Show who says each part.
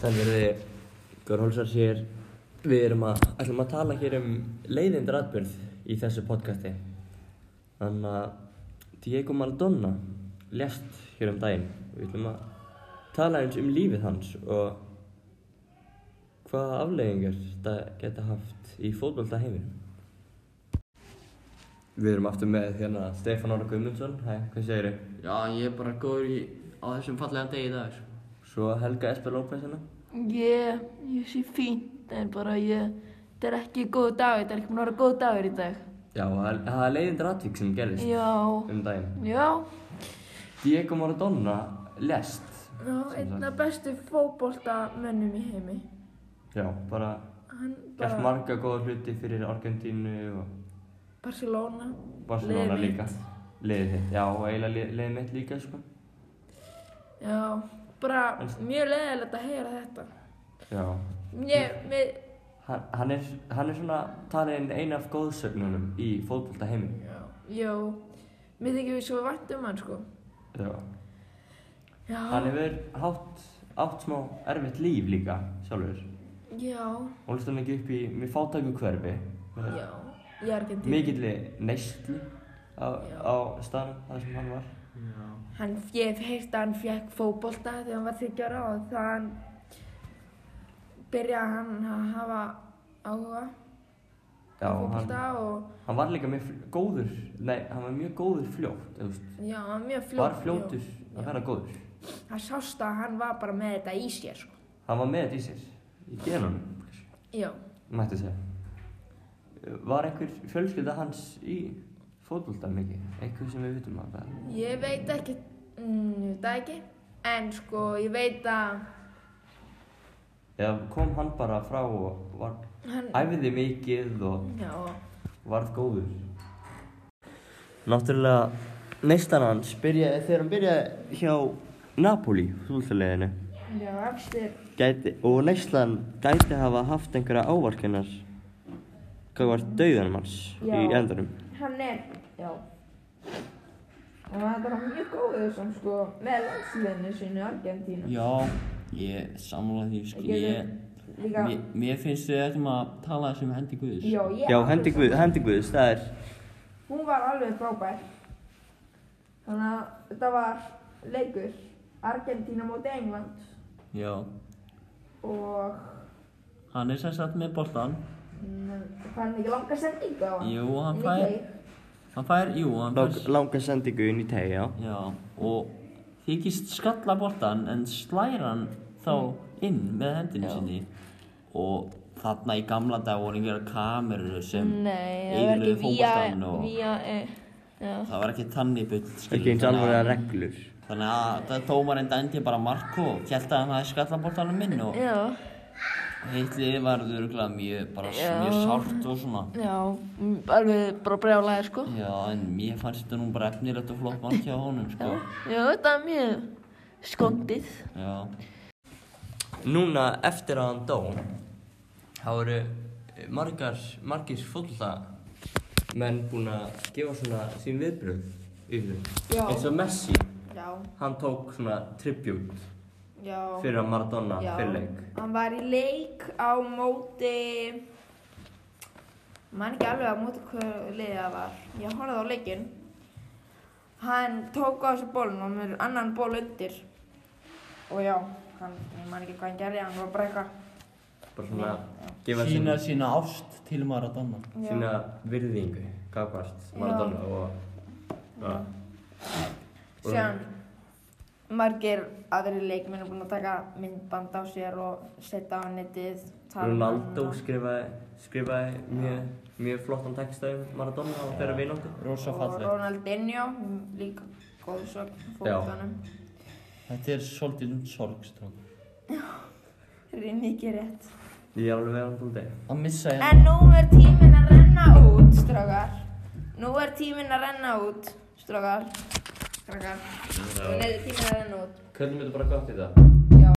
Speaker 1: Þannig er þið, Görhólsars hér, við erum að, ætlum að tala hér um leiðindur atbyrð í þessu podcasti. Þannig að Diego Maradona lest hér um daginn. Við ætlum að tala eins um lífið hans og hvaða afleggingar þetta geta haft í fótbolta heiminum. Við erum aftur með hérna Stefán Ára Guðmundsson, hæ, hvað segir þið?
Speaker 2: Já, ég er bara góður í, á þessum fallega degi í dag. sko.
Speaker 1: Svo Helga Esper López hérna.
Speaker 3: Ég, ég sé fínt, en bara ég, þetta er ekki góð dagur, þetta er ekki búin að vera góð dagur í dag.
Speaker 1: Já, og það það er leiðindur atvík sem gerðist
Speaker 3: Já,
Speaker 1: um daginn.
Speaker 3: já,
Speaker 1: Diego Maradona lest.
Speaker 4: Já, einn af bestu fótboltamönnum í heimi.
Speaker 1: Já, bara
Speaker 4: Hann
Speaker 1: gert
Speaker 4: bara
Speaker 1: marga góða hluti fyrir Argentínu og
Speaker 4: Barcelona.
Speaker 1: Barcelona
Speaker 4: Liðið
Speaker 1: líka. Liðið þitt, já, og eiginlega lið- liðið mitt líka, sko.
Speaker 4: Já, bara mjög leðilegt að heyra þetta.
Speaker 1: Já,
Speaker 4: Mér, mér,
Speaker 1: hann, hann, er, hann er svona talin eina af góðsögnunum í fótbolta heiminum.
Speaker 4: já, já, mér þykir við svo vænt um hann, sko.
Speaker 1: Já,
Speaker 4: Já,
Speaker 1: hann hefur hátt, átt smá erfitt líf líka, sjálfur.
Speaker 4: já,
Speaker 1: Ólst hann ekki upp í mjög fátæku hverfi. með
Speaker 4: já, í Argentínu.
Speaker 1: Mikilli neyslu á, á staðnum þar sem hann var.
Speaker 4: Hann, ég hef heyrt að hann fekk fótbolta þegar hann var 30 ára og þann byrjaði hann að hafa áhuga á
Speaker 1: Já, hann,
Speaker 4: fótbolta og
Speaker 1: hann var líka mjög fl- góður, nei, hann var mjög góður fljótt, þú veist.
Speaker 4: já, hann var mjög fljótur.
Speaker 1: Var fljótur að vera góður.
Speaker 4: Það sást að hann var bara með þetta í sér, sko.
Speaker 1: Hann var með þetta í sér, í genunum,
Speaker 4: Já.
Speaker 1: mætti segja. Var einhver fjölskylda hans í fótbolta mikið? Eitthvað sem við vitum af það?
Speaker 4: Ég veit ekki, mm, ég veit það ekki, en sko ég veit að
Speaker 1: Eða kom hann bara frá og var,
Speaker 4: hann,
Speaker 1: æfiði mikið og
Speaker 4: já,
Speaker 1: varð góður? Náttúrulega, neistan hans, byrjaði, þegar hann byrjaði hjá Napoli, fótboltaleginu,
Speaker 4: já, afstur,
Speaker 1: gæti, og neistan gæti hafa haft einhverja ávarkinar hvað var dauðanum hans í
Speaker 4: Já.
Speaker 1: endanum.
Speaker 4: hann er, já, og hann var mjög góður sem sko með landsliðinu sínu í Argentínu.
Speaker 2: Já, ég samla því, sko,
Speaker 4: Ég-
Speaker 2: ég,
Speaker 4: Líka,
Speaker 2: mér, mér finnst þið ættum að tala þessum hendi Guðs.
Speaker 4: já, ég,
Speaker 1: Já, hendi Guð, hendi Guðs, það er
Speaker 4: hún var alveg frábær, þannig að þetta var leikur, Argentína móti England
Speaker 2: Já,
Speaker 4: og
Speaker 2: hann er sem sagt með boltan.
Speaker 4: mm, fann ekki langa sendingu á hann.
Speaker 2: Jú, hann
Speaker 4: Inn í
Speaker 2: fær,
Speaker 4: teig.
Speaker 2: hann fær, jú, hann
Speaker 1: lang,
Speaker 2: fær,
Speaker 1: langa sendingu inn í tegi, já.
Speaker 2: já, og þykist skalla boltan en slær hann þá inn með hendinu sinni. Og þarna í gamla dag voru einhverja kamerur sem
Speaker 3: nei, það var ekki
Speaker 2: Eyðilögðu
Speaker 3: vía,
Speaker 2: fótboltann og-
Speaker 3: vía, e, já,
Speaker 2: það var ekki tannig bull,
Speaker 1: Ekki eins alvarlega reglur.
Speaker 2: Þannig að það tómarinn dændi bara Marko og held að hann hafði skallaboltanum minn og
Speaker 3: já,
Speaker 2: heitlið var örgulega mjög, bara s-
Speaker 3: Já.
Speaker 2: mjög sárt og svona.
Speaker 3: já, m- alveg bara brjálæði, sko.
Speaker 2: Já, en mér fannst þetta nú bara efnilegt og flott mark hjá honum, sko.
Speaker 3: Já, þetta er mjög skondið.
Speaker 2: Já.
Speaker 1: Núna, eftir að hann dó, þá eru eh, margar, margir fólta menn búin að gefa svona sín viðbröð yfir
Speaker 4: Já.
Speaker 1: eins og Messi,
Speaker 4: Já,
Speaker 1: hann tók svona tribute
Speaker 4: já.
Speaker 1: fyrir að Maradona
Speaker 4: Já,
Speaker 1: fyrir leik.
Speaker 4: Hann var í leik á móti, mann ekki alveg á móti hvað liðið það var. Ég horfði á leikinn. Hann tók á þessu bólun og mér annan ból undir. Og já, hann, ég man ekki hvað hann gerði, hann var bara eitthvað.
Speaker 1: Bara svona gefa sín,
Speaker 2: Sína sína ást til Maradona.
Speaker 1: sína virðingu, gafvart Maradona og... Ja. Og-
Speaker 4: Síðan, margir aðri leikminn er búin að taka myndband á sér og setja á netið. tala um
Speaker 1: Ronaldo
Speaker 4: hann og-
Speaker 1: skrifaði, skrifaði mjög, mjög flottan texta um Maradona og þeirra vináttu.
Speaker 2: Rosa
Speaker 4: Og
Speaker 2: fallegt.
Speaker 4: Ronaldinho, líka góðsögn
Speaker 1: Já.
Speaker 4: fólkvöldunum.
Speaker 2: Þetta er svolítið sorgstrák.
Speaker 4: Rinn ekki rétt.
Speaker 1: Ég er alveg verðan búin
Speaker 2: Að missa hérna.
Speaker 4: En nú er tíminn að renna út, strákar. Nú er tíminn að renna út, strákar. Strákar. Nú er tíminn að renna út.
Speaker 1: Köllum þetta bara gott í þetta?